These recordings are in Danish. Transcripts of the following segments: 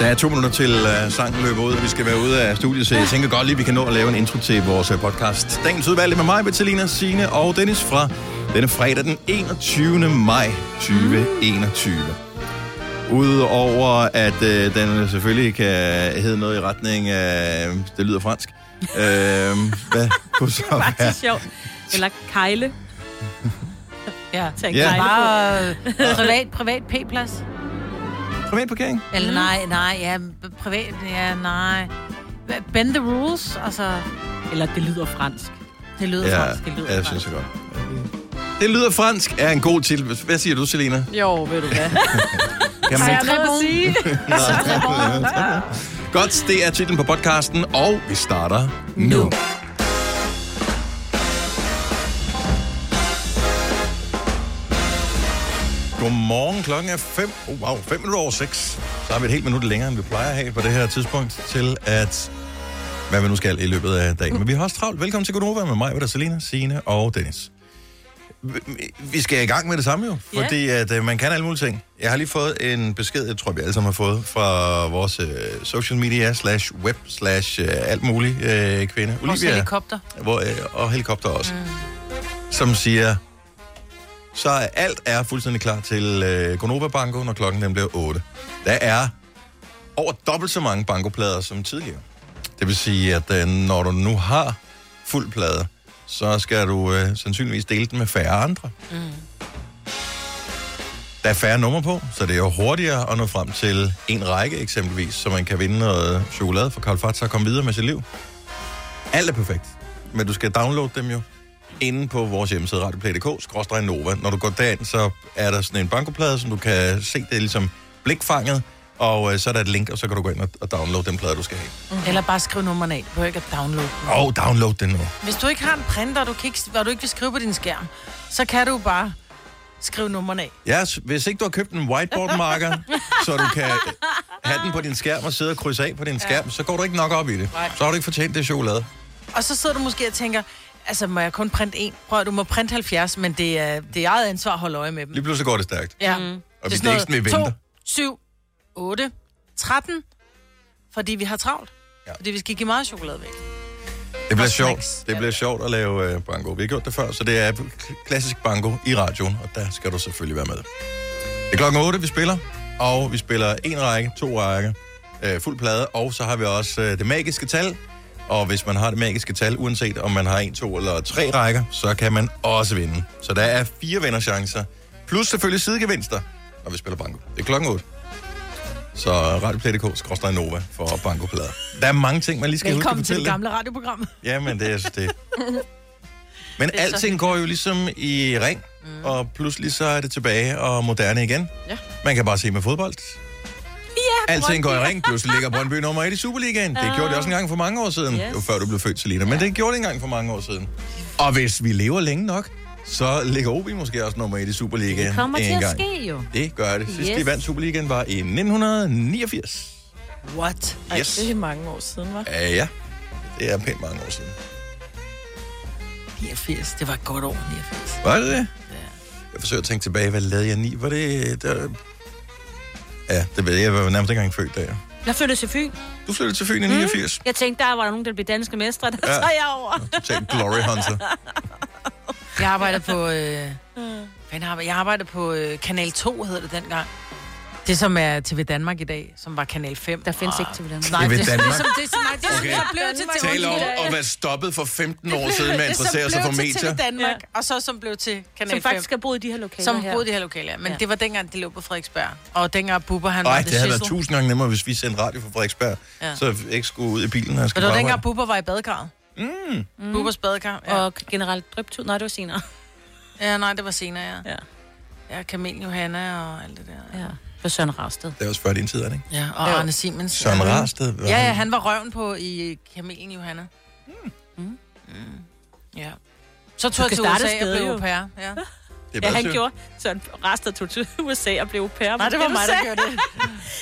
Der er to minutter til uh, sangen løber ud, og vi skal være ude af studiet, så jeg tænker godt lige, vi kan nå at lave en intro til vores øh, podcast. Dagens udvalg med mig, Bettelina, Signe og Dennis fra denne fredag den 21. maj 2021. Udover at øh, den selvfølgelig kan hedde noget i retning af, det lyder fransk, øh, hvad kunne så være? Faktisk sjovt. Eller kejle. Ja. Tag en Ja. kejle på. Bare privat, privat p-plads. Privat parkering? Eller nej, nej, ja, b- privat, ja, nej. B- Bend the rules, altså, Eller det lyder fransk. det lyder Ja, fransk, det lyder ja, jeg fransk. synes det er godt. Det lyder fransk er en god til... Hvad siger du, Selina? Jo, ved du hvad. Kan Har man jeg noget at Trebon. sige? Godt, det er titlen på podcasten, og vi starter nu. Godmorgen, klokken er 5. Oh, wow, 5 minutter over 6. Så har vi et helt minut længere, end vi plejer at have på det her tidspunkt, til at hvad vi nu skal i løbet af dagen. Men vi har også travlt. Velkommen til Godnova med mig, Vedder Selina, Signe og Dennis. Vi- Vi skal i gang med det samme jo, Ja. fordi at, øh, man kan alle mulige ting. Jeg har lige fået en besked, jeg tror, vi alle sammen har fået, fra vores øh, social media slash web slash øh, alt muligt øh, kvinde. Vores helikopter. hvor, øh, og helikopter også, mm. som siger, så er alt er fuldstændig klar til øh, Gonova Banko, når klokken den bliver 8. Der er over dobbelt så mange bankoplader som tidligere. Det vil sige, at øh, når du nu har fuld plade, så skal du øh, sandsynligvis dele den med færre andre. Mm. Der er færre numre på, så det er jo hurtigere at nå frem til en række eksempelvis, så man kan vinde noget chokolade fra Carl Fatsa og komme videre med sit liv. Alt er perfekt, men du skal downloade dem jo inde på vores hjemmeside radioplay.dk, Nova. Når du går derind, så er der sådan en bankoplade, som du kan se, det er ligesom blikfanget, og øh, så er der et link, og så kan du gå ind og, og downloade den plade, du skal have. Eller bare skriv nummerne af, du behøver ikke at downloade dem. Og download den nu. Hvis du ikke har en printer, og du, kan ikke, og du ikke vil skrive på din skærm, så kan du bare skrive nummerne af. Ja, s- hvis ikke du har købt en whiteboard-marker, så du kan øh, have den på din skærm og sidde og krydse af på din skærm, så går du ikke nok op i det. Nej. Så har du ikke fortjent det chokolade. Og så sidder du måske og tænker, altså må jeg kun printe en? Prøv at- du må printe 70, men det er, det er eget ansvar at holde øje med dem. Lige pludselig går det stærkt. Ja. Mm. Og vi det er ikke sådan, vi venter. 7, 8, 13, fordi vi har travlt. Ja. Ja. Fordi vi skal give meget chokolade væk. Det bliver Og sjovt. snacks. Det Ja. bliver sjovt at lave øh, banko. Vi har gjort det før, så det er k- klassisk banko i radioen, og der skal du selvfølgelig være med. Det er klokken 8, vi spiller, og vi spiller en række, to række, øh, fuld plade, og så har vi også øh, det magiske tal. Og hvis man har det magiske tal, uanset om man har en, to eller tre rækker, så kan man også vinde. Så der er fire vinderchancer, plus selvfølgelig sidegevinster, når vi spiller banko. Det er klokken 8. Så radioplay.dk, Nova for bankoplader. Der er mange ting, man lige skal huske Velkommen at til det fortælle. gamle radioprogram. Ja, men det er så det. Men alting går jo ligesom i ring, mm. og pludselig så er det tilbage og moderne igen. Ja. Man kan bare se med fodbold. Ja, alting går i ring. Pludselig ligger Brøndby nummer 1 i Superligaen. Det gjorde det også en gang for mange år siden, yes. jo før du blev født, Selina. Men det gjorde det en gang for mange år siden. Og hvis vi lever længe nok, så ligger OB måske også nummer 1 i Superligaen Det kommer en til at gang. ske jo. Det gør det. Sidst yes. Yes. de vandt Superligaen var i 1989. What? Ej, Yes. det er mange år siden, var. Ja, ja. Det er pænt mange år siden. 89, det var et godt år, 89. Var det det? Jeg forsøger at tænke tilbage, hvad lavede jeg ni? Var det... Der... Ja, det ved jeg. Jeg var nærmest ikke engang født der. Jeg flyttede til Fyn. Du flyttede til Fyn Mm. i 89. Jeg tænkte, der var der nogen, der blev danske mestre, der tager jeg over. Totalt glory hunter. Jeg arbejdede på... Øh, hvad arbejder, jeg arbejdede på øh, Kanal 2, hed det dengang. Det, som er TV Danmark i dag, som var Kanal 5. Der findes ikke til Danmark. Nej, TV det, det, Danmark? Som, det, er ligesom- som- nej, det, er som- Okay. jeg blev til TV Tal om Danmark. at være stoppet for 15 år siden med at interessere sig for Som blev til TV medier. Danmark, og så som blev til Kanal 5. Som faktisk har boet i de her lokaler som her. boede i det her lokale, ja. Men Ja. det var dengang, det lå på Frederiksberg. Og dengang Bubber, han var Nej, det, det havde været shizzle. tusind gange nemmere, hvis vi sendte radio fra Frederiksberg, ja. Ja. så jeg ikke skulle ud i bilen, når jeg Men skulle det på var arbejde. dengang, Bubber var i badekarret. Mm. Bubbers badekar. Ja. Og generelt drøbtud. Nej, det var senere. ja, nej, det var senere, ja. Ja. Ja, Kamel Johanna og alt det der. ja. For Søren Ragsted. Det var også før din tid, er det ikke? Ja, og Arne Simens. Søren Rarsted. var Ja, ja, han- han var røven på i Kamelen Johanna. Mm. Mm. Ja. Så tog jeg skal til starte et USA og sted, blev jo. au pair. Ja. Det er Ja, bare han sygt. gjorde. Søren Ragsted tog til USA og blev au pair. Nej, det var mig, der gjorde det.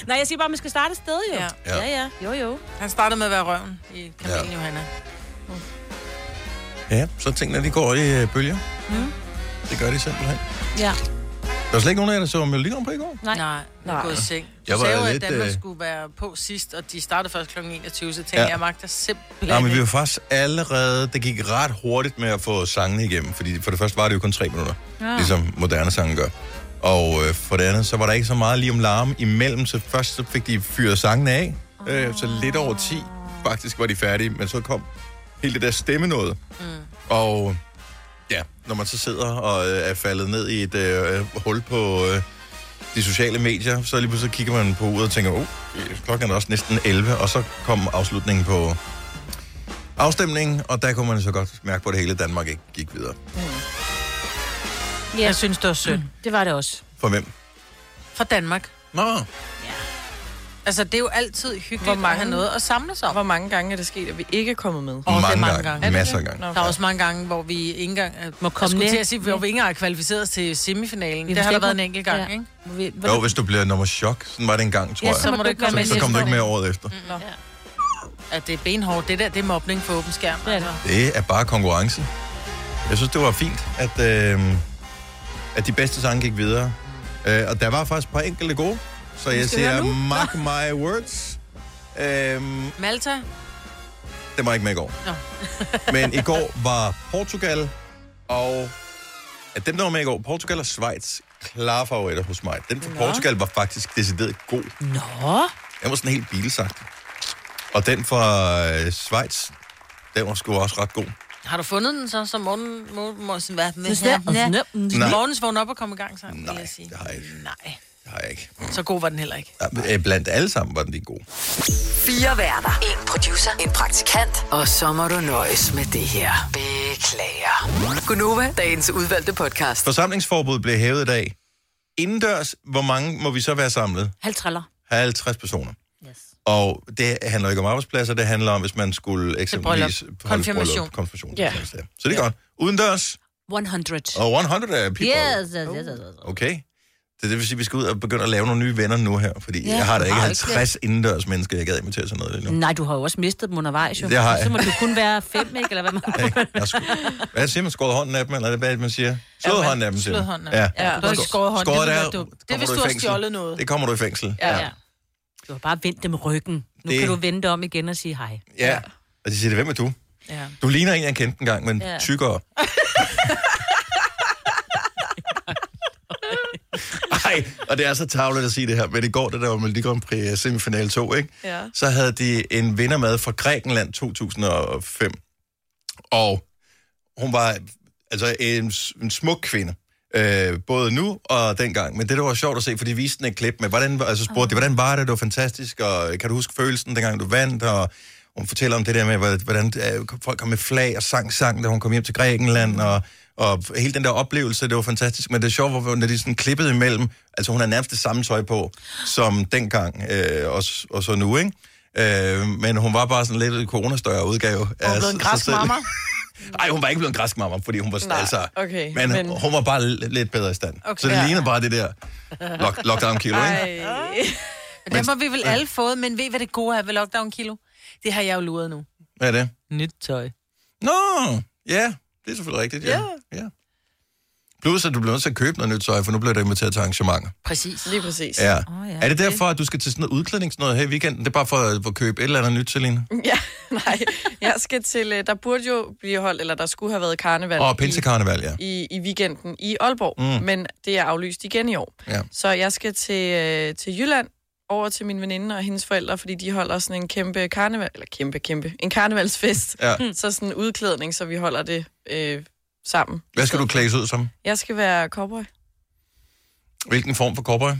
Nej, jeg siger bare, at man skal starte et sted, jo. Ja. Ja. ja. ja. Jo, jo. Han startede med at være røven i Kamelen Ja. ja. Johanna. Ja, så tingene, de går i øh, bølger. Mm. Det gør de simpelthen. Ja. var slet ikke nogen af jer, der så Melodi Grand Prix i går. Nej. Nej, jeg er Nej. gået i seng. Du Jeg jeg var sagde jo, at lidt, Danmark øh, skulle være på sidst, og de startede først kl. 21, så tænkte Ja. ja. jeg, magter simpelthen Nej, men vi ikke. var faktisk allerede... Det gik ret hurtigt med at få sangene igennem, fordi for det første var det jo kun tre minutter, Ah. ja. ligesom moderne sange gør. Og øh, for det andet, så var der ikke så meget lige om larm imellem, så først så fik de fyret sangene af, øh, så lidt over 10 faktisk var de færdige, men så kom hele det der stemme noget. Mm. Og ja, når man så sidder og øh, er faldet ned i et øh, hul på øh, de sociale medier, så lige pludselig kigger man på uret og tænker, oh, klokken er også næsten 11, og så kom afslutningen på afstemningen, og der kunne man så godt mærke på at det hele, Danmark ikke gik videre. Jeg synes, det var synd. Det var det også. For hvem? For Danmark. Nå, Altså, det er jo altid hyggeligt Hvor Hvor mange... at mange- have noget at samle sig om. Hvor mange gange er det sket, at vi ikke er kommet med? Åh, det er mange, mange mange gange. gange. Er det Masser af gange. Nå. Der er også mange gange, hvor vi ikke engang øh, Må komme jeg skulle ned. til at sige, hvor vi ikke engang er kvalificeret os til semifinalen. Vi Det har der måske været en ikke- enkelt gang, Ja. ja. ikke? Vi, Jo, hvis du bliver nummer chok, sådan var det engang, tror ja, jeg. så må du ikke være med så, så kom du næste ikke år. med året efter. Mm, At det er benhårdt. Det der, det er mobning for åben skærm. altså. Det er det. Det er bare konkurrence. Jeg synes, det var fint, at, øh, at de bedste sange gik videre. Øh, og der var faktisk et par enkelte gode, så jeg skal siger, høre nu. mark my words. Øh, Malta? det var ikke med i går. Nå. Men i går var Portugal og... At dem, der var med i går, Portugal og Schweiz, klare favoritter hos mig. Den fra Portugal var faktisk decideret god. Nå, Den var sådan helt bilsagt. Og den fra øh, Schweiz, den var sgu også ret god. Har du fundet den så, som morgen... Morgen... Morgen... Hvad? Det er snap, Ja. snap. Nej. Morgens vågn op og komme i gang sammen, vil Nej, jeg sige. det har jeg ikke. Nej. Det har jeg ikke. Så god var den heller ikke. Ja, øh, Blandt alle sammen var den lige god. Fire værter. En producer. En praktikant. Og så må du nøjes med det her. Beklager. Gunova, dagens udvalgte podcast. Forsamlingsforbuddet blev hævet i dag. Indendørs, hvor mange må vi så være samlet? halv triller. 50 personer. Yes. Og det handler ikke om arbejdspladser, det handler om, hvis man skulle eksempelvis... holde bryllup, Konfirmation. Konfirmation. Ja. Ja. Så det er godt. Udendørs 100. Yes, og 100 people. yes, yes, yes, yes. Okay. Det, det vil sige, at vi skal ud og begynde at lave nogle nye venner nu her, fordi ja, jeg har da ikke 50 indendørs mennesker, jeg gad invitere til noget lige nu. Nej, du har jo også mistet dem undervejs, jo. Det har jeg. Så må du kun være fem, ikke? Eller hvad man... Ikke? Jeg sku... Hvad siger man? Skåret hånden af dem, eller er det hvad er det, man siger? Slået man- hånden af dem, siger slået man. hånden af Ja. dem. Ja, du har ikke Skå- skåret hånden, det skåret ville af- være dumt. Det er, kommer hvis i du har fængsel. stjålet noget. Det kommer du i fængsel. Ja. Ja. Du har bare vendt dem ryggen. Nu Det- det... kan du vende om igen og sige hej. Ja. Og de siger, det, hvem er du? Ja. Du ligner en, jeg kendte engang, men ja. Ja. tykkere. Nej, og det er så tavlet at sige det her, men i går, da der var Melodi Grand Prix øh, semifinale 2, ikke? Ja. så havde de en vinder med fra Grækenland 2005. Og hun var altså en, s- en smuk kvinde. Øh, både nu og dengang. Men det, der var sjovt at se, for de viste den et klip med, hvordan, altså spurgte Ah. de, hvordan var det, det var fantastisk, og kan du huske følelsen, dengang du vandt, og hun fortæller om det der med, hvordan- hvordan øh, folk kom med flag og sang sang, da hun kom hjem til Grækenland, og, og hele den der oplevelse, det var fantastisk, men det sjove var, hvor- når de sådan klippede imellem, altså hun har nærmest det samme tøj på, som dengang, øh, og, s- og så nu, ikke? Øh, men hun var bare sådan lidt en coronastørre udgave af blevet sig en græsk selv. mamma. Nej, hun var ikke blevet en græsk mamma, fordi hun var Nej, Nej, altså... okay, men, men men- hun var bare l- lidt bedre i stand. Okay, Okay. så det ja. Ja. ligner bare det der lock, lockdown kilo, ikke? Ej. Men dem har vi vel alle fået, men ved I, hvad det gode er ved lockdown kilo? Det har jeg jo luret nu. Hvad er det? Nyt tøj. Nå, ja, det er selvfølgelig rigtigt, ja. ja. ja. Plus, at du bliver nødt til at købe noget nyt tøj, for nu bliver du inviteret til arrangementer. Præcis. Lige præcis. Ja. Åh, ja, er det derfor, at du skal til sådan noget udklædning sådan noget her i weekenden? Det er bare for at, for at købe et eller andet nyt, Celine? Ja, nej. Jeg skal til, øh, der burde jo blive holdt, eller der skulle have været karneval Og pinsekarneval, ja. i, i weekenden i Aalborg, Mm. mm. men det er aflyst igen i år. Ja. Så jeg skal til, øh, til Jylland over til min veninde og hendes forældre, fordi de holder sådan en kæmpe karneval, eller kæmpe, kæmpe, en karnevalsfest. ja. Så sådan en udklædning, så vi holder det øh, sammen. Hvad skal du klædes ud som? Jeg skal være cowboy. Hvilken form for cowboy?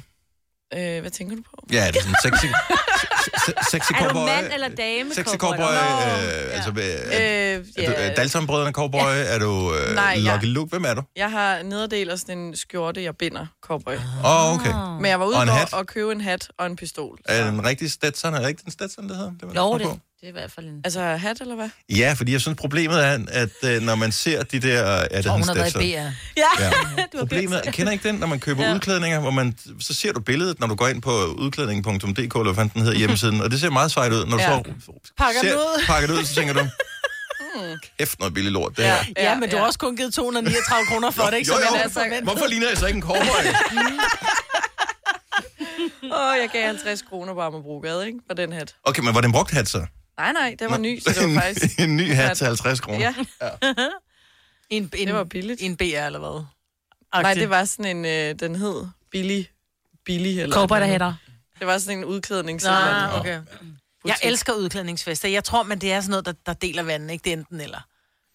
Øh, hvad tænker du på? Ja, det er sådan sexy... se- se- sexy Er du cowboy. mand eller dame? Sexy cowboy? cowboy, øh, altså... Øh, Øh, Er du øh, ja, Dalton-brødrene cowboy? Er du øh, Nej, jeg- Lucky Luke? Hvem er du? jeg har nederdel og sådan en skjorte, jeg binder cowboy. Åh, Ah. oh, okay. Mm. Men jeg var ude Og en hat. for at købe en hat og en pistol. Er den rigtig Stetson? Er det ikke den Stetson, det hedder? Det, man Jo, tror på? det, det er i hvert fald en... Altså hat, eller hvad? Ja, fordi jeg synes, problemet er, at øh, når man ser de der... øh, Er det Og den hun har været Stetson? i BR. Ja. Du har Problemet, jeg kender ikke den, når man køber ja. udklædninger, hvor man, så ser du billedet, når du går ind på udklædning.dk, eller hvad fanden den hedder hjemmesiden, og det ser meget sejt ud, når du ja. Ja. så Pakker ser, den ud. pakker det ud, så tænker du, "Hmm, Kæft noget billig lort, det her. Ja, ja, men du har også kun givet 239 kroner for det, ikke? Jo, Så jo. man er altså, altså- forventet. Hvorfor ligner jeg så ikke en cowboy? Åh, oh, jeg gav 50 kroner på Amagerbrogade, ikke? For den hat. Okay, men var det en brugt hat så? Nej, nej, den var ny, så det en, var faktisk... en ny hat til 50 kroner. Ja, En, en, det var billigt. en BR eller hvad? Nej, det var sådan en... Øh, den hed Billy. Billy, eller... Kåber, der hvad den hætter. hed. Det var sådan en udklædning. Ah. Ah, okay. Jeg elsker udklædningsfester. Jeg tror, men det er sådan noget, der, der deler vandet, ikke? Det er enten eller.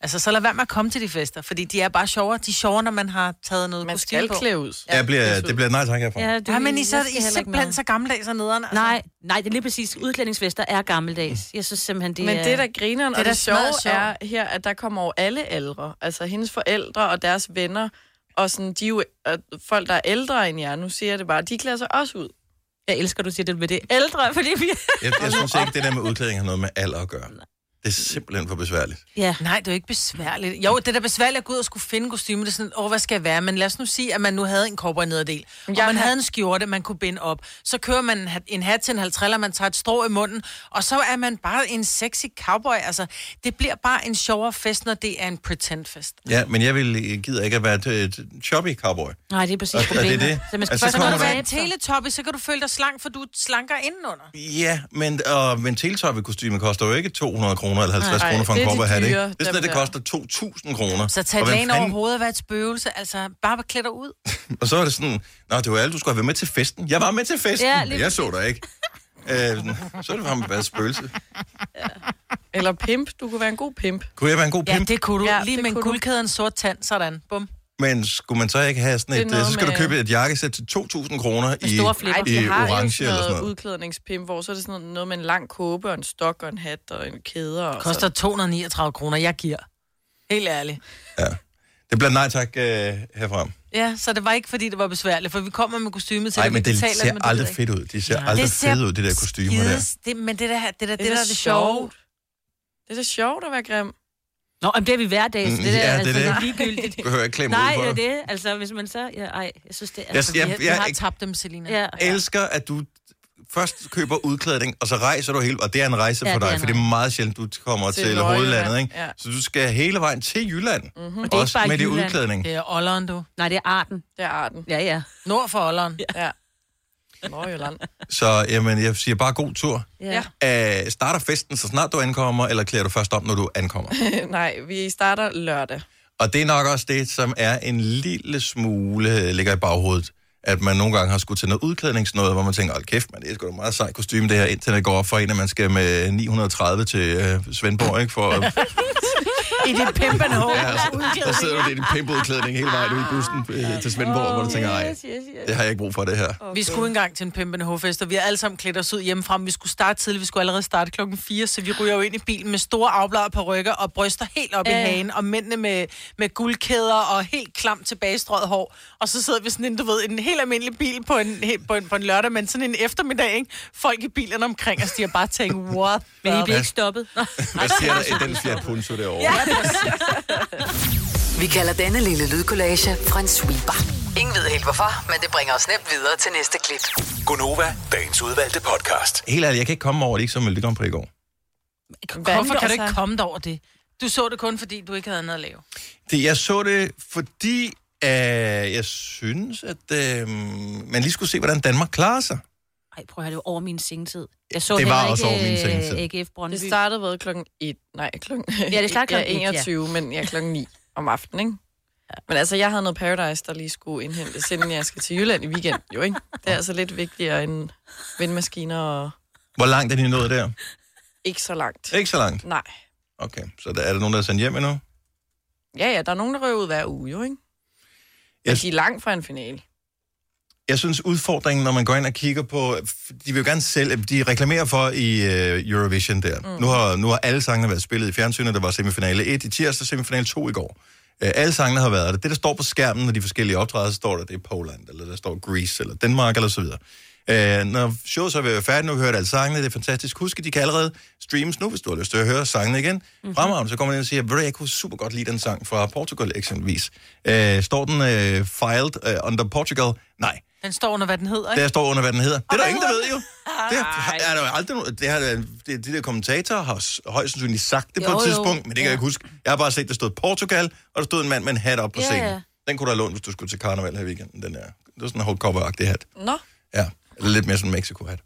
Altså, så lad være med at komme til de fester, fordi de er bare sjovere. De er sjovere, når man har taget noget Man kostume skal på. klæde ud. Jeg bliver, det bliver nej tak herfra. Ja. du, Ja, men I, jeg så, skal I er heller ikke simpelthen med. så gammeldags og nederen. Altså. Nej, nej, det er lige præcis. Udklædningsfester er gammeldags. Jeg synes simpelthen, det Men er... det, der grineren Det er og da det sjove smadret sjovt. er her, at der kommer over alle aldre. Altså hendes forældre og deres venner, og sådan, de er jo og folk, der er ældre end jer, nu siger jeg det bare, de klæder sig også ud. Jeg elsker, du siger det med det ældre, fordi vi... Jeg, jeg synes ikke, det der med udklædning har noget med alder at gøre. Det er simpelthen for besværligt. Ja. Nej, det er jo ikke besværligt. Jo, det er da besværligt at gå ud og skulle finde kostyme. Det er sådan, åh, hvad skal jeg være? Men lad os nu sige, at man nu havde en kopper nederdel. Og Jeg man har- havde en skjorte, man kunne binde op. Så kører man en hat- en hat til en halv triller, man tager et strå i munden. Og så er man bare en sexy cowboy. Altså, det bliver bare en sjovere fest, når det er en pretend fest. Ja, men jeg, vil, jeg gider ikke at være et choppy cowboy. Nej, det er præcis Og- og det er problemet. det. Så man skal Altså, først så Når kommer komme du der- er være en teletoppe, så kan du føle dig slank, for du er slankere indenunder. Ja, men, og, men teletoppe kostume koster jo ikke 200 kroner eller 50 Nej, kroner for det en er de cowboy hat, ikke? dyre, Det er sådan, dem at det der. koster 2.000 kroner. Så tag Og hvem et over hovedet og vær et spøgelse. Altså, bare klæd dig ud. Og så er det sådan, nå, det var alle, du skulle have været med til festen. Jeg var med til festen, Ja, ja, lige men jeg så dig ikke. Øh, så er det bare været spøgelse. Eller pimp, du kunne være en god pimp. Kunne jeg være en god Ja, pimp? det kunne du. Ja, Lige det med en kunne du. guldkæde og en sort tand. Sådan. Bum. Men skulle man så ikke have sådan Det er et... øh, noget Så skal du med- købe et jakkesæt til 2.000 kroner i, store flipper. i de har orange jo sådan eller sådan noget noget. udklædningspimp, hvor så er det sådan noget- noget med en lang kåbe og en stok og en hat og en kæde. Og Koster 239 kroner. Jeg giver. Helt ærligt. Det bliver nej tak øh, herfra. Ja, så det var ikke, fordi det var besværligt, for vi kommer med kostymet til Nej, det, men vi det betaler ser men det ved aldrig jeg ikke. fedt ud. De ser Nej. aldrig Det ser fede ud, de der kostymer der. Skides- Det, men det, der, det, der, det, Det, der er er da det sjove. sjovt. Det er da sjovt at være grim. Nå, men det er vi hver dag, så det, Mm, der, ja, det er altså, det. det er ligegyldigt. Du behøver ikke klemme Nej, ud for det er det. det. Altså, hvis man så... Ja, ej, jeg synes, det er... Jeg, jeg, Jeg, jeg, har jeg tabt dem, Selina. ja, ja. elsker, at du først køber udklædning, og så rejser du hele... Og det er en rejse Ja, for det er dig, en for det er meget sjældent, du kommer til, Til til Norge, hovedlandet, ikke? ja. Så du skal hele vejen til Jylland. Mm-hmm. ikke Også bare med det Jylland. udklædning. Det er Olleren, du. Nej, det er arten. Det er arten. Ja, ja. Nord for Olleren. Ja. Ja. Nordjylland. Så jamen, jeg siger bare god tur. Ja. Æh, starter festen, så snart du ankommer, eller klæder du først om, når du ankommer? Nej, vi starter lørdag. Og det er nok også det, som er en lille smule øh, ligger i baghovedet. At man nogle gange har skulle til noget udklædningsnoget, hvor man tænker, hold kæft, man, det er sgu da meget sejt kostume det her, indtil det går op for en, at man skal med 930 til øh, Svendborg, ikke? For, I det pimpende hår. ja, altså. så, så sidder du i din pimpudklædning hele vejen ud i bussen øh, til Svendborg, oh, hvor du tænker, nej, det har jeg ikke brug for, det her. Vi skulle engang til en pimpende hårfest, og vi har alle sammen klædt os ud hjemmefra. men Vi skulle starte tidligt, vi skulle allerede starte klokken 4, så vi ryger jo ind i bilen med store afbladede perukker og bryster helt op i hagen, og mændene med, med guldkæder og helt klamt tilbagestrøget hår. Og så sidder vi sådan en, du ved, en helt almindelig bil på en, he- på en, på en lørdag, men sådan en eftermiddag, ikke? Folk i bilerne omkring os, de har bare tænkt, what Men I the bliver ikke stoppet. Hvad siger der i den fjerde punto derovre? Vi kalder denne lille lydkollage Frans sweeper. Ingen ved helt hvorfor, men det bringer os nemt videre til næste klip. Gunova, dagens udvalgte podcast. Helt ærligt, jeg kan ikke komme over, at det ikke så med Grand Prix i går. Hvorfor kan du altså? ikke komme dig over det? Du så det kun, fordi du ikke havde noget at lave. Det, jeg så det, fordi øh, jeg synes, at øh, man lige skulle se, hvordan Danmark klarer sig. Ej, prøv at høre, det var over min sengetid. Jeg så Det heller var ikke, også over min øh, sengetid. AGF Brøndby. Det startede ved klokken 1. Nej, klokken... Ja, det startede klokken et, ja. ja, 21, men ja, klokken 9 om aftenen, ikke? Men altså, jeg havde noget Paradise, der lige skulle indhentes, inden jeg skal til Jylland i weekend, jo ikke? Det er altså lidt vigtigere end vindmaskiner og Hvor langt er de nået der? ikke så langt. Ikke så langt. Nej. Okay, så der, er der nogen, der er sendt hjem endnu? Ja, ja, der er nogen, der røver ud hver uge, jo, ikke? Men Jeg- de er langt fra en finale. Jeg synes, udfordringen, når man går ind og kigger på... f- De vil jo gerne sælge... De reklamerer for i øh, Eurovision der. Mm. Nu, har, nu har alle sangene været spillet i fjernsynet. Der var semifinale 1 i tirsdag, semifinale 2 i går. Øh, alle sangene har været der. Det, der står på skærmen, når de forskellige optræder, så står der, det er Poland, eller der står Greece, eller Danmark, eller så videre. Øh, når showet så vil være færdigt, nu har vi hørt alle sangene, det er fantastisk. Husk, at de kan allerede streames nu, hvis du har lyst til at høre sangene igen. Mm-hmm. Fremragende, så kommer man ind og siger, ved du, jeg kunne super godt lide den sang fra Portugal eksempelvis. Øh, står den øh, filed øh, under Portugal? Nej. Den står under, hvad den hedder, ikke? Der står under, hvad den hedder. Det er der ingen, der ved jo. Det har, er der jo aldrig nogen, det har, det, de der kommentatorer har s- højst sandsynligt sagt det jo, Jo, på et jo. tidspunkt, men det kan jeg ikke huske. Jeg har bare set, der stod Portugal, og der stod en mand med en hat op på Ja, scenen. ja. Den kunne du have lånt, hvis du skulle til karneval her i weekenden, den der. Det var sådan en holdkopper-agtig hat. Nå, Ja, eller lidt mere sådan en Mexico-hat.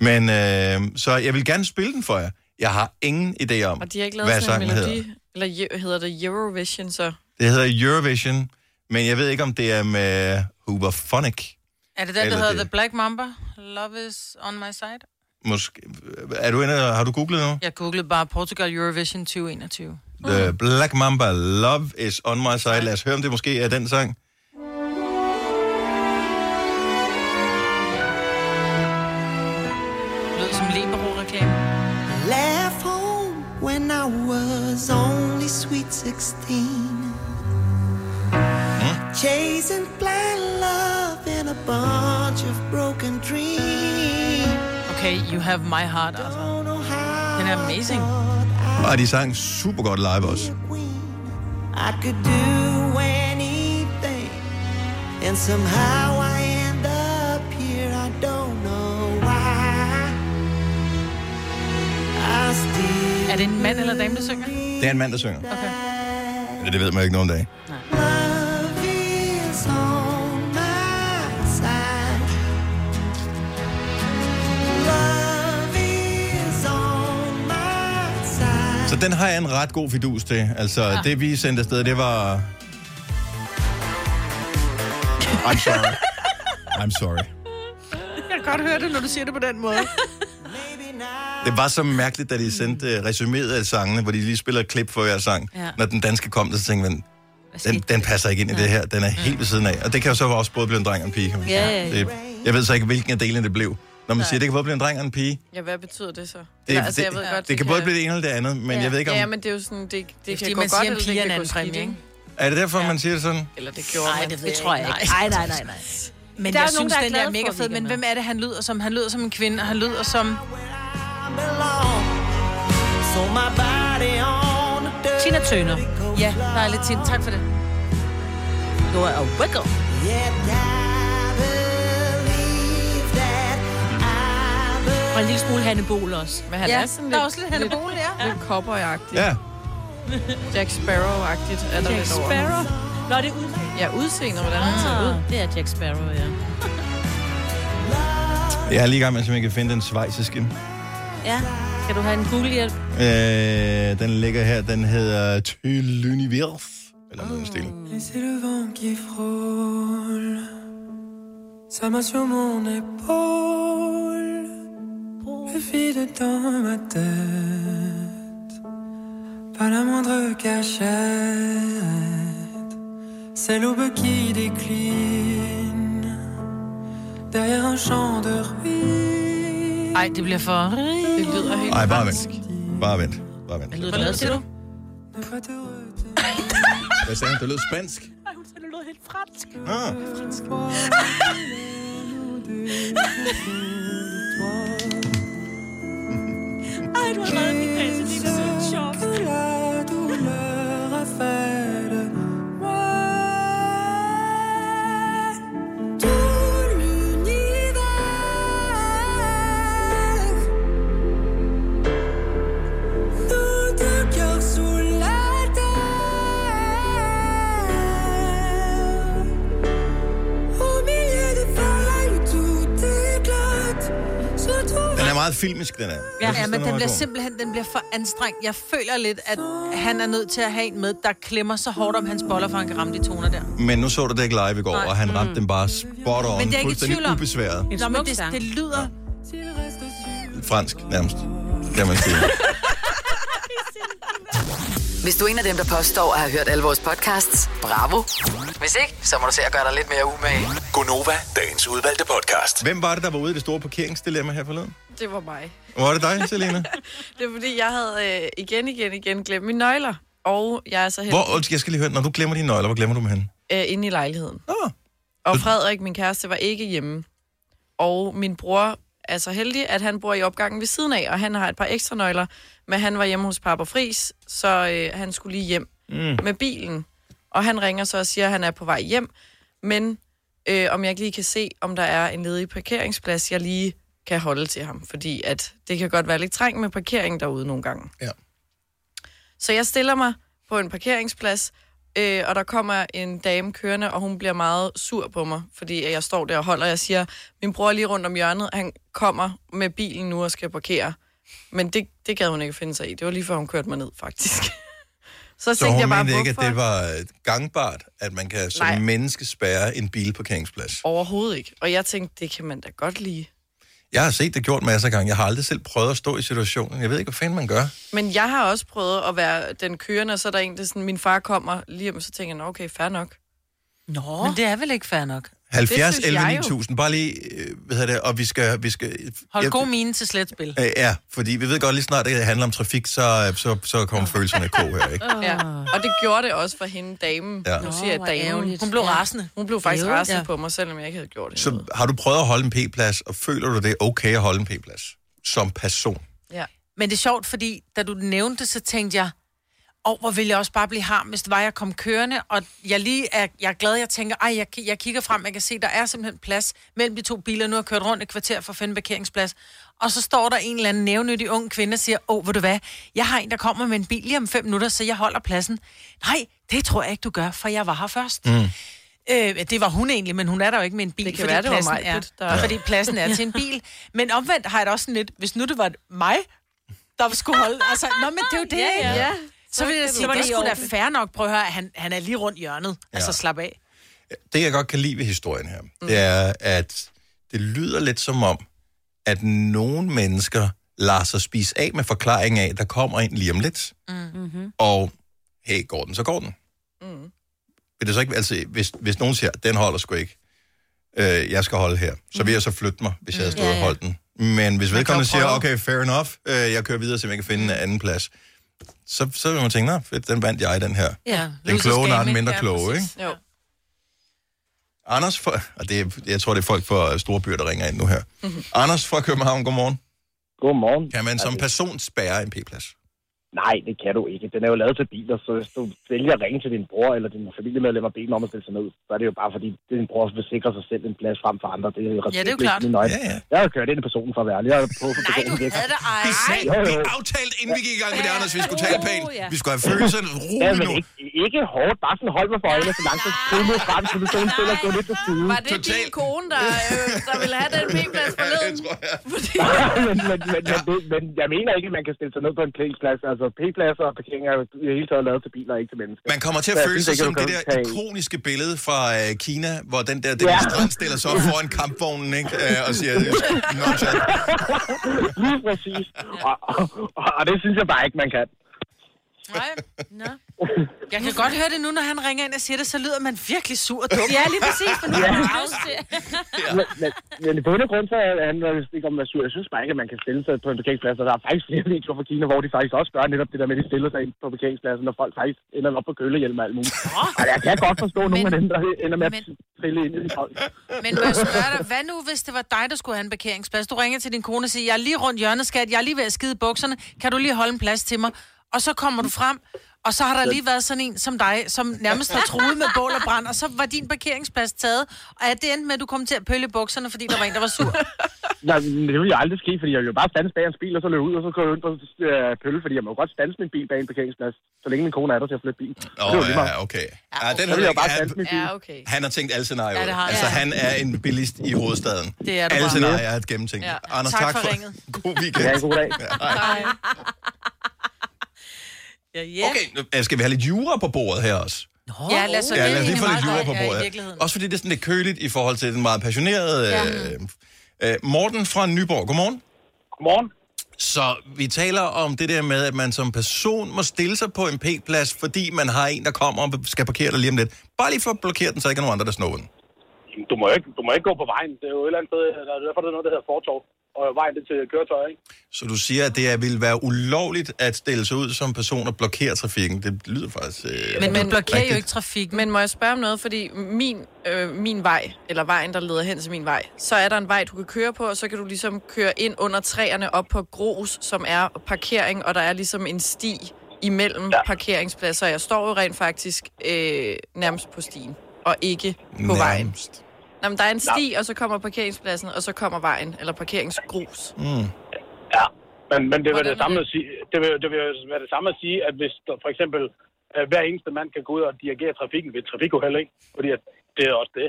Men, øh, så jeg vil gerne spille den for jer. Jeg har ingen idé om, og de har ikke hvad lavet sådan en sangen melodi. hedder. Eller je- hedder det Eurovision, så? Det hedder Eurovision, men jeg ved ikke, om det er med Huberphonic. Er det den, Eller der hedder det. The Black Mamba? Love is on my side? Måske, er du inde, har du googlet nu? Jeg googlede bare Portugal Eurovision 2021. The Black Mamba, Love is on my side. Lad os høre, om det måske er den sang. Lød som Lebero-reklame. Left home when I was only sweet 16. Chasing blind love in a bunch of broken dreams. Okay, you have my heart, altså. Don't know Den er how amazing. Og de sang super godt live også. I could do anything. And somehow I end up here. I don't know why. I still Er det en mand eller dame, der synger? Det er en mand, der synger. Okay. Det, det ved man ikke nogen dag. Love is on my side. Love is on my side. Så den har jeg en ret god fidus til. Altså, ja. det vi sendte afsted, det var... I'm sorry. I'm sorry. Jeg kan godt høre det, når du siger det på den måde. Det var så mærkeligt, da de sendte uh, resuméet af sangene, hvor de lige spiller et klip for hver sang. Ja. Ja. Når den danske kom, der så tænkte man, den, Hvad skete den passer ikke ind i det her. Den er helt ved siden af. Og det kan jo så også både blive en dreng og en pige. kan man sige. Ja, ja, ja. Det, jeg ved så ikke, hvilken af delene det blev. Når man siger, det kan både blive en dreng og en pige. Ja, hvad betyder det så? Det, Eller, altså, jeg ved det, godt, det kan både blive det ene eller det andet, men ja. jeg ved ikke om... Ja, men det er jo sådan, det, det, det fordi, kan gå man godt, siger, eller at det piger kan er en gå skidt, præmie, ikke? Er det derfor, ja. man siger det sådan? Eller det gjorde Ej, man. det, ved jeg tror jeg ikke. Nej, nej, nej, nej. Men Der jeg er nogen, synes, der er den der glade er mega for, at fed. vi Men kan hvem er det, han lyder som? Han lyder som en kvinde, og han lyder som... I belong. So my body on the dirt. Tina Turner. Ja, dejligt, Tine. Tak for det. Du er wiggle. Yet I believe that I belong. Og en lille smule Hanne Bol også. Men han Ja, er sådan der lidt... er også lidt Hanne Bol, ja. Lidt cowboy-agtigt. Ja. Jack Sparrow-agtigt er der Jack lidt over. Sparrow. Nå, det er ud. Ja, udseende, hvordan han ser ud. Ah, det er Jack Sparrow, ja. Jeg er lige i gang med, at jeg kan finde den svejsiske. Ja. Kan du have en google-hjælp? Øh, den ligger her. Den hedder Tylunivers. Eller noget i den stil. Et c'est le vent qui frôle Sa main sur mon épaule Le vide dans ma tête Pas la moindre cachette C'est l'aube qui décline Derrière un champ de ruines Ej, det bliver for... Det lyder helt... Ej, bare vent. Bare vent. Bare vent. Lyder det noget, siger du? Ne pas te retenir Hvad sagde han? Det lød spansk. Nej, hun sagde, det lyder helt fransk. Ah. Ej, du har reddet min dag, så det er så sjovt. que la douleur a fait de moi. Tout l'univers, notre cœur sous la terre. Au milieu de failles, tout éclate. Je trouve Den er meget filmisk, den er. Jeg Ja, synes, men er den meget bliver god. simpelthen den bliver for anstrengt. Jeg føler lidt, at han er nødt til at have en med, der klemmer så hårdt om hans boller, for han kan ramme de toner der. Men nu så du det ikke live i går, og han ramte den bare spot on. Mm. Men det er ikke i tvivl fuldstændig om- ubesværet. En Nå, men smuk det, sang. det lyder... s'il reste sur Fransk, nærmest. Kan man sige. Hvis du er en af dem, der påstår at have hørt alle vores podcasts, bravo. Hvis ikke, så må du se at gøre dig lidt mere umage. Gonova, dagens udvalgte podcast. Hvem var det, der var ude i det store parkeringsdilemma her forleden? Ah. Det var mig. Var det dig, Selina? Det er fordi, jeg havde øh, igen, igen, igen glemt mine nøgler. Og jeg er så heldig Hvor, undskyld, jeg skal lige høre, når du glemmer dine nøgler, hvor glemmer du dem hen? øh, inde i lejligheden. Nå, Og Frederik, min kæreste, var ikke hjemme. Og min bror er så heldig, at han bor i opgangen ved siden af, og han har et par ekstra nøgler. Men han var hjemme hos Papa Fris, så øh, han skulle lige hjem mm. med bilen. Og han ringer så og siger, at han er på vej hjem. Men øh, om jeg ikke lige kan se, om der er en ledig parkeringsplads, jeg lige kan holde til ham, fordi at det kan godt være lidt trængt med parkering derude nogle gange. Ja. Så jeg stiller mig på en parkeringsplads, øh, og der kommer en dame kørende, og hun bliver meget sur på mig, fordi at jeg står der og holder, og jeg siger, min bror er lige rundt om hjørnet, han kommer med bilen nu og skal parkere. Men det, det gad hun ikke finde sig i. Det var lige før, hun kørte mig ned, faktisk. Så, Så hun jeg bare, mente ikke, at hvorfor? det var øh, gangbart, at man kan som Nej. menneske spærre en bilparkeringsplads. Overhovedet ikke. Og jeg tænkte, det kan man da godt lide. Jeg har set det gjort masser af gange. Jeg har aldrig selv prøvet at stå i situationen. Jeg ved ikke, hvad fanden man gør. Men jeg har også prøvet at være den kørende, og så er der en, der sådan, min far kommer lige om, så tænker jeg, "Nå, okay, fair nok. Nå. Men det er vel ikke fair nok. 70, synes 11, jeg jo. 9000. Bare lige, øh, hvad hedder det, og vi skal... Vi skal Hold jeg- god mine til slet spil. Øh, Ja, fordi vi ved godt, lige snart det handler om trafik, så, øh, så, så kommer følelserne i kog her, ikke? Ja. Og det gjorde det også for hende, damen. Ja. Ja. Nu siger jeg Ah. Nå, hvor damen. ærgerligt. Hun blev Ja. rasende. Hun blev faktisk Ærgerligt, rasende ja. på mig, selvom jeg ikke havde gjort det. Så har du prøvet at holde en p-plads, og føler du det er okay at holde en p-plads som person? Ja. Men det er sjovt, fordi da du nævnte det, så tænkte jeg, og hvor ville jeg også bare blive harm, hvis det var, jeg kom kørende, og jeg lige er, jeg er glad, jeg tænker, ej, jeg, ki- jeg kigger frem, jeg kan se, der er simpelthen plads mellem de to biler, nu har jeg kørt rundt et kvarter for at finde en parkeringsplads, og så står der en eller anden nævnyttig ung kvinde og siger, åh, ved du hvad, jeg har en, der kommer med en bil lige om fem minutter, så jeg holder pladsen. Nej, det tror jeg ikke, du gør, for jeg var her først. Mm. Øh, det var hun egentlig, men hun er der jo ikke med en bil, Det kan fordi, være, det var pladsen mig, er, Britt, der- fordi pladsen er til en bil. Men omvendt har jeg det også sådan lidt, hvis nu det var mig, der skulle holde... Altså, nå, men det er jo det, ja, ja. Så vil jeg sige, det, det det i skulle da orden. fair nok. Prøv at høre, at han, han er lige rundt hjørnet. Ja. Altså, slap af. Det, jeg godt kan lide ved historien her, det er, at det lyder lidt som om, at nogle mennesker lader sig spise af med forklaringen af, der kommer en lige om lidt. Mm-hmm. Og, hey, går den, så går den. Mm. Vil det så ikke, altså, hvis, hvis nogen siger, den holder sgu ikke, øh, jeg skal holde her, så vil jeg så flytte mig, hvis jeg havde stået Ja, og ja. holdt den. Men hvis vedkommende siger, prøve. okay, fair enough, øh, jeg kører videre, så jeg kan finde en anden plads, så, så vil man tænke, nå, fedt, den vandt jeg, den her. Ja. Den Losers kloge, når game, den mindre Ja, kloge, præcis. ikke? Jo. Anders fra, og det, er- jeg tror, det er folk fra store byer, der ringer ind nu her. Mhm. Mm-hmm. Anders fra København, godmorgen. Godmorgen. Altså, Kan man som person spærre en p-plads? Nej, det kan du ikke. Den er jo lavet til biler, så hvis du vælger at ringe til din bror eller din familiemedlem og bede dem om at stille sig ned, så er det jo bare fordi, din bror vil sikre sig selv en plads frem for andre. Det er jo, det er jo klart. Nøje. Ja, ja. Jeg har kørt ind i personen for at være ærlig. Jeg har på for Nej, du personen havde det ej. Vi, sagde, jo, jo. vi aftalte, inden vi gik i gang med det, Anders, vi skulle tale Oh, pænt. ja. Vi skulle have følelserne Ja, roligt men nu. ikke, ikke hårdt. Bare sådan hold mig for øjnene, så langt du kommer mod frem, så du sådan stille og gå lidt til siden. Var det Total. Total. din kone, der, øh, der ville have den p-plads Ja, det forleden? tror jeg. Fordi... men, men, men, men, det, men jeg mener ikke, at man kan stille sig ned på en parkeringsplads. Altså, p-pladser og parkering er jo i det hele taget lavet til biler, ikke til mennesker. Man kommer til at Så jeg føle synes sig ikke, som du det der kan tage- ikoniske billede fra øh, Kina, hvor den der demonstrant stiller sig op foran kampvognen, ikke? Øh, og siger, nonchalant. Lige præcis. Og, og, og, og det synes jeg bare ikke, man kan. Nej. Nå. Jeg kan godt høre det nu, når han ringer ind og siger det, så lyder man virkelig sur og dum. Ja, lige præcis, for nu har jeg lyst til. Men, men, men i bund og grund, så handler det ikke om at være sur. Jeg synes bare ikke, at man kan stille sig på en parkeringsplads, og der er faktisk flere videoer fra Kina, hvor de faktisk også gør netop det der med, at de stiller sig ind på parkeringspladsen, når folk faktisk ender op på kølehjelm og alt muligt. Og jeg kan godt forstå, at nogen af dem, der ender med at men- trille ind i de folk. Men må jeg spørge dig, hvad nu, hvis det var dig, der skulle have en parkeringsplads? Du ringer til din kone og siger, jeg er lige rundt hjørnet, skat, jeg er lige ved at skide i bukserne, kan du lige holde en plads til mig? Og så kommer du frem, og så har der lige været sådan en som dig, som nærmest var truet med bål og brand, og så var din parkeringsplads taget, og er det endte med, at du kom til at pølle i bukserne, fordi der var en, der var sur? Nej, men det ville jo aldrig ske, fordi jeg ville jo bare stands bag hans bil, og så løbe ud, og så gå ind på øh, pølle, fordi jeg må jo godt stands min bil bag en parkeringsplads, så længe min kone er der til at flytte bilen. Åh, det er jo lige meget. ja, okay. Ja, den Så har du vil jeg jo ikke. bare stands min bil. Ja, okay. Han har tænkt alle scenarier. Ja, det har Ja, han. altså, Ja. han er en bilist i hovedstaden. Det er du alle bare. scenarier er gennemtænkt. Ja. Anders, tak, Tak for for ringet. God weekend. Ja, en god dag. Ja, yeah. Okay, nu øh, skal vi have lidt jura på bordet her også? ja lad os, så Ja, det lad os lige egentlig få lidt meget jura godt, på ja, i bordet. Ja, virkeligheden. også fordi det er sådan lidt køligt i forhold til den meget passionerede... Ja. Øh, øh, Morten fra Nyborg, godmorgen. Godmorgen. Så vi taler om det der med, at man som person må stille sig på en p-plads, fordi man har en, der kommer og skal parkere dig lige om lidt. Bare lige for at blokere den, så ikke er nogen andre, der snår den. Jamen, du må jo ikke, du må ikke gå på vejen. Det er jo et eller andet sted, der er derfor, der er noget, der hedder fortov, og vejen det er til køretøjer, ikke? Så du siger, at det er- ville være ulovligt at stille sig ud som person og blokere trafikken. Det lyder faktisk... Øh, Men man rigtigt. blokerer jo ikke trafikken. Men må jeg spørge om noget? Fordi min, øh, min vej, eller vejen, der leder hen til min vej, så er der en vej, du kan køre på, og så kan du ligesom køre ind under træerne op på grus, som er parkering, og der er ligesom en sti imellem ja. parkeringspladser. Jeg står jo rent faktisk øh, nærmest på stien, og ikke på vejen. Nærmest. Nå, men der er en sti, og så kommer parkeringspladsen, og så kommer vejen, eller parkeringsgrus. Mm. Ja, men, men det, vil Hvordan det, er samme at sige, det, vil, det vil være det samme at sige, at hvis der for eksempel øh, hver eneste mand kan gå ud og dirigere trafikken ved et trafikuheld, ikke? Fordi at det er også det.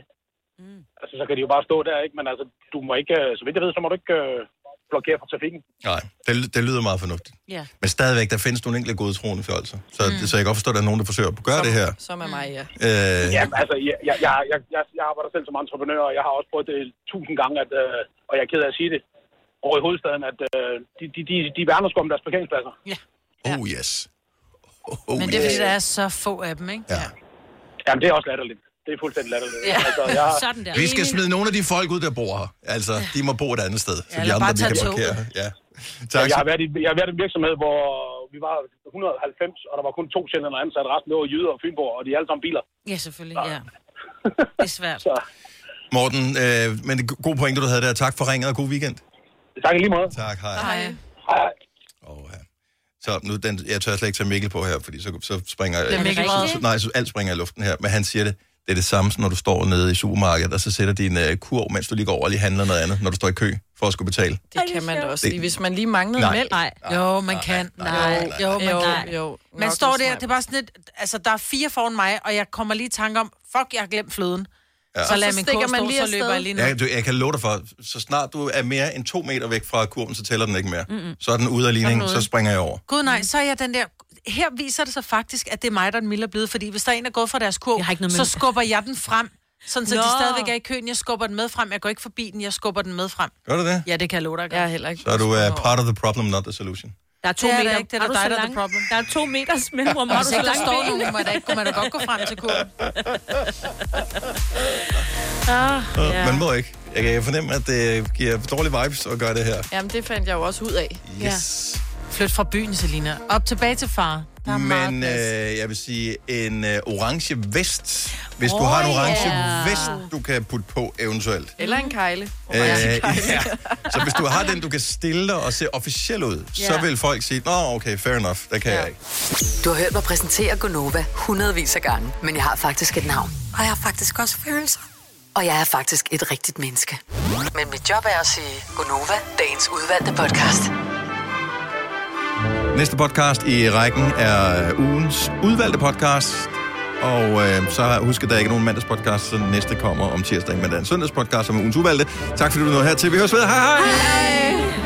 Mm. Altså, så kan de jo bare stå der, ikke? Men altså, du må ikke, øh, så vidt jeg ved, så må du ikke øh, blokere for trafikken. Nej, det, ly- det lyder meget fornuftigt. Ja. Men stadigvæk, der findes nogle enkelte gode troende fjolser. Så, mm. så jeg kan godt forstå, at der er nogen, der forsøger at gøre det her. Som er mig, ja. Øh, Jamen, altså, jeg, jeg, jeg, jeg, jeg, jeg arbejder selv som entreprenør, og jeg har også prøvet det tusind gange, at, øh, og jeg er ked af at sige det, over i hovedstaden, at øh, de, de, de, de værner sgu om deres parkeringspladser. Oh yes. Oh, Men det er, fordi der er så få af dem, ikke? Ja. Jamen, det er også latterligt. Det er fuldstændig latterligt. Ja. Altså, jeg, Sådan der. Vi skal smide nogle af de folk ud, der bor her. Altså, de må bo et andet sted, så Ja, de eller andre bare de tage kan toget. parkere. Ja. jeg, Tak. jeg, har været i, jeg har været i en virksomhed, hvor vi var 190, og der var kun to sjældne ansat. Resten lå i Jyder og Fynborg, og de er alle sammen biler. Ja, selvfølgelig, ja. Det er svært. Så Morten, øh, men det er god pointe, du havde der. Tak for ringet, og god weekend. tak i lige måde. Tak, hej. Hej. Hej. Oh, ja. Så nu, den, jeg tør slet ikke tage Mikkel på her, fordi så, så springer... Det er Mikkel så, Raud. nej, så alt springer i luften her. Men han siger det, det er det samme, som når du står nede i supermarkedet, og så sætter din øh, kurv, mens du lige går over og lige handler noget andet, når du står i kø for at skulle betale. Det kan man da også Det- lige. Hvis man lige manglede Nej. mælk. Nej. Jo, man kan. nej, nej, Jo, man Jo, kan. jo. Man Nok står en der, smart- det er bare sådan lidt, altså der er fire foran mig, og jeg kommer lige i tanke om, fuck, jeg har glemt fløden. Ja. Så Og lader så min stikker kog man stå, lige så løber afsted. jeg lige ned. Ja, du, jeg kan love dig for, så snart du er mere end to meter væk fra kurven, så tæller den ikke mere. Mm-mm. Så er den ude af ligningen, så springer jeg over. Gud nej, så er jeg den der... Her viser det sig faktisk, at det er mig, der er den milde er blevet, fordi hvis der er en, der er gået fra deres kurv, Jeg har ikke noget så med- skubber jeg den frem. Sådan, så Nå. de Nå. stadigvæk er i køen. Jeg skubber den med frem. Jeg går ikke forbi den, jeg skubber den med frem. Gør du det? Ja, det kan jeg love dig. Jeg Jeg er heller ikke. Så er du uh, part of the problem, not the solution. Der er to Det er der meter. ikke. Det er der du dig, så der er the lang- problem. Der er to meters mellemrum. Har Har du du så set, der langt står ben? nogen, hvor der ikke kunne man da godt gå frem til kurven. Uh, Man må ikke. Jeg kan fornemme, at det giver dårlige vibes at gøre det her. Jamen, det fandt jeg jo også ud af. Yes. Flyt fra byen, Selina. Op tilbage til far. Der er meget Men plads. øh, jeg vil sige, en øh, orange vest. Hvis du har en Åh, orange ja. vest, du kan putte på eventuelt. Eller en kejle. Øh, ja. Så hvis du har den, du kan stille dig og se officiel ud, så Ja. vil folk sige, nå okay, fair enough, det kan jeg ikke. Du har hørt mig præsentere Gonova hundredvis af gange, men jeg har faktisk et navn. Og jeg har faktisk også følelser. Og jeg er faktisk et rigtigt menneske. Men mit job er at sige Gonova, dagens udvalgte podcast. Næste podcast i rækken er øh, ugens udvalgte podcast. Og øh, så husk, at der ikke er nogen mandagspodcast, så næste kommer om tirsdag, men der er en søndagspodcast, som er ugens udvalgte. Tak fordi du nåede hertil. Vi høres ved. Hej hej! hej.